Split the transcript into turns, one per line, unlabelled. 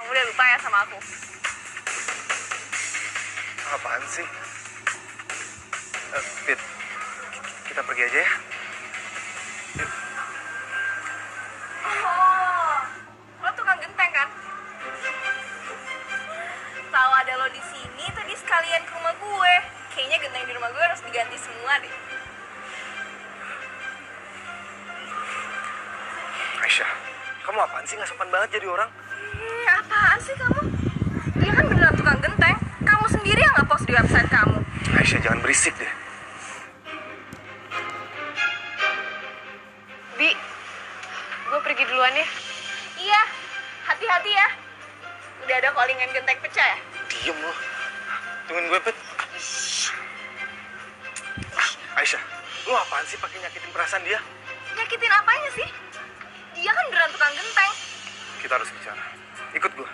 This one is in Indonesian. ya sama aku.
Apaan sih? Eh, Pit, kita pergi aja ya.
Oh, lo tukang genteng kan? Tahu ada lo di sini tadi sekalian ke rumah gue. Kayaknya genteng di rumah gue harus diganti semua deh.
Aisyah, kamu apaan sih nggak sopan banget jadi orang?
Hmm, apaan sih kamu? Dia kan beneran tukang genteng. Kamu sendiri yang nggak post di website kamu.
Aisyah jangan berisik deh.
Bi, gue pergi duluan ya.
Iya, hati-hati ya. Udah ada callingan genteng pecah ya?
Diem loh. Tungguin gue, Pit. Ah, Aisyah, lu apaan sih pakai nyakitin perasaan dia?
Nyakitin apanya sih? Dia kan beneran tukang genteng.
Kita harus bicara. Ikut gue.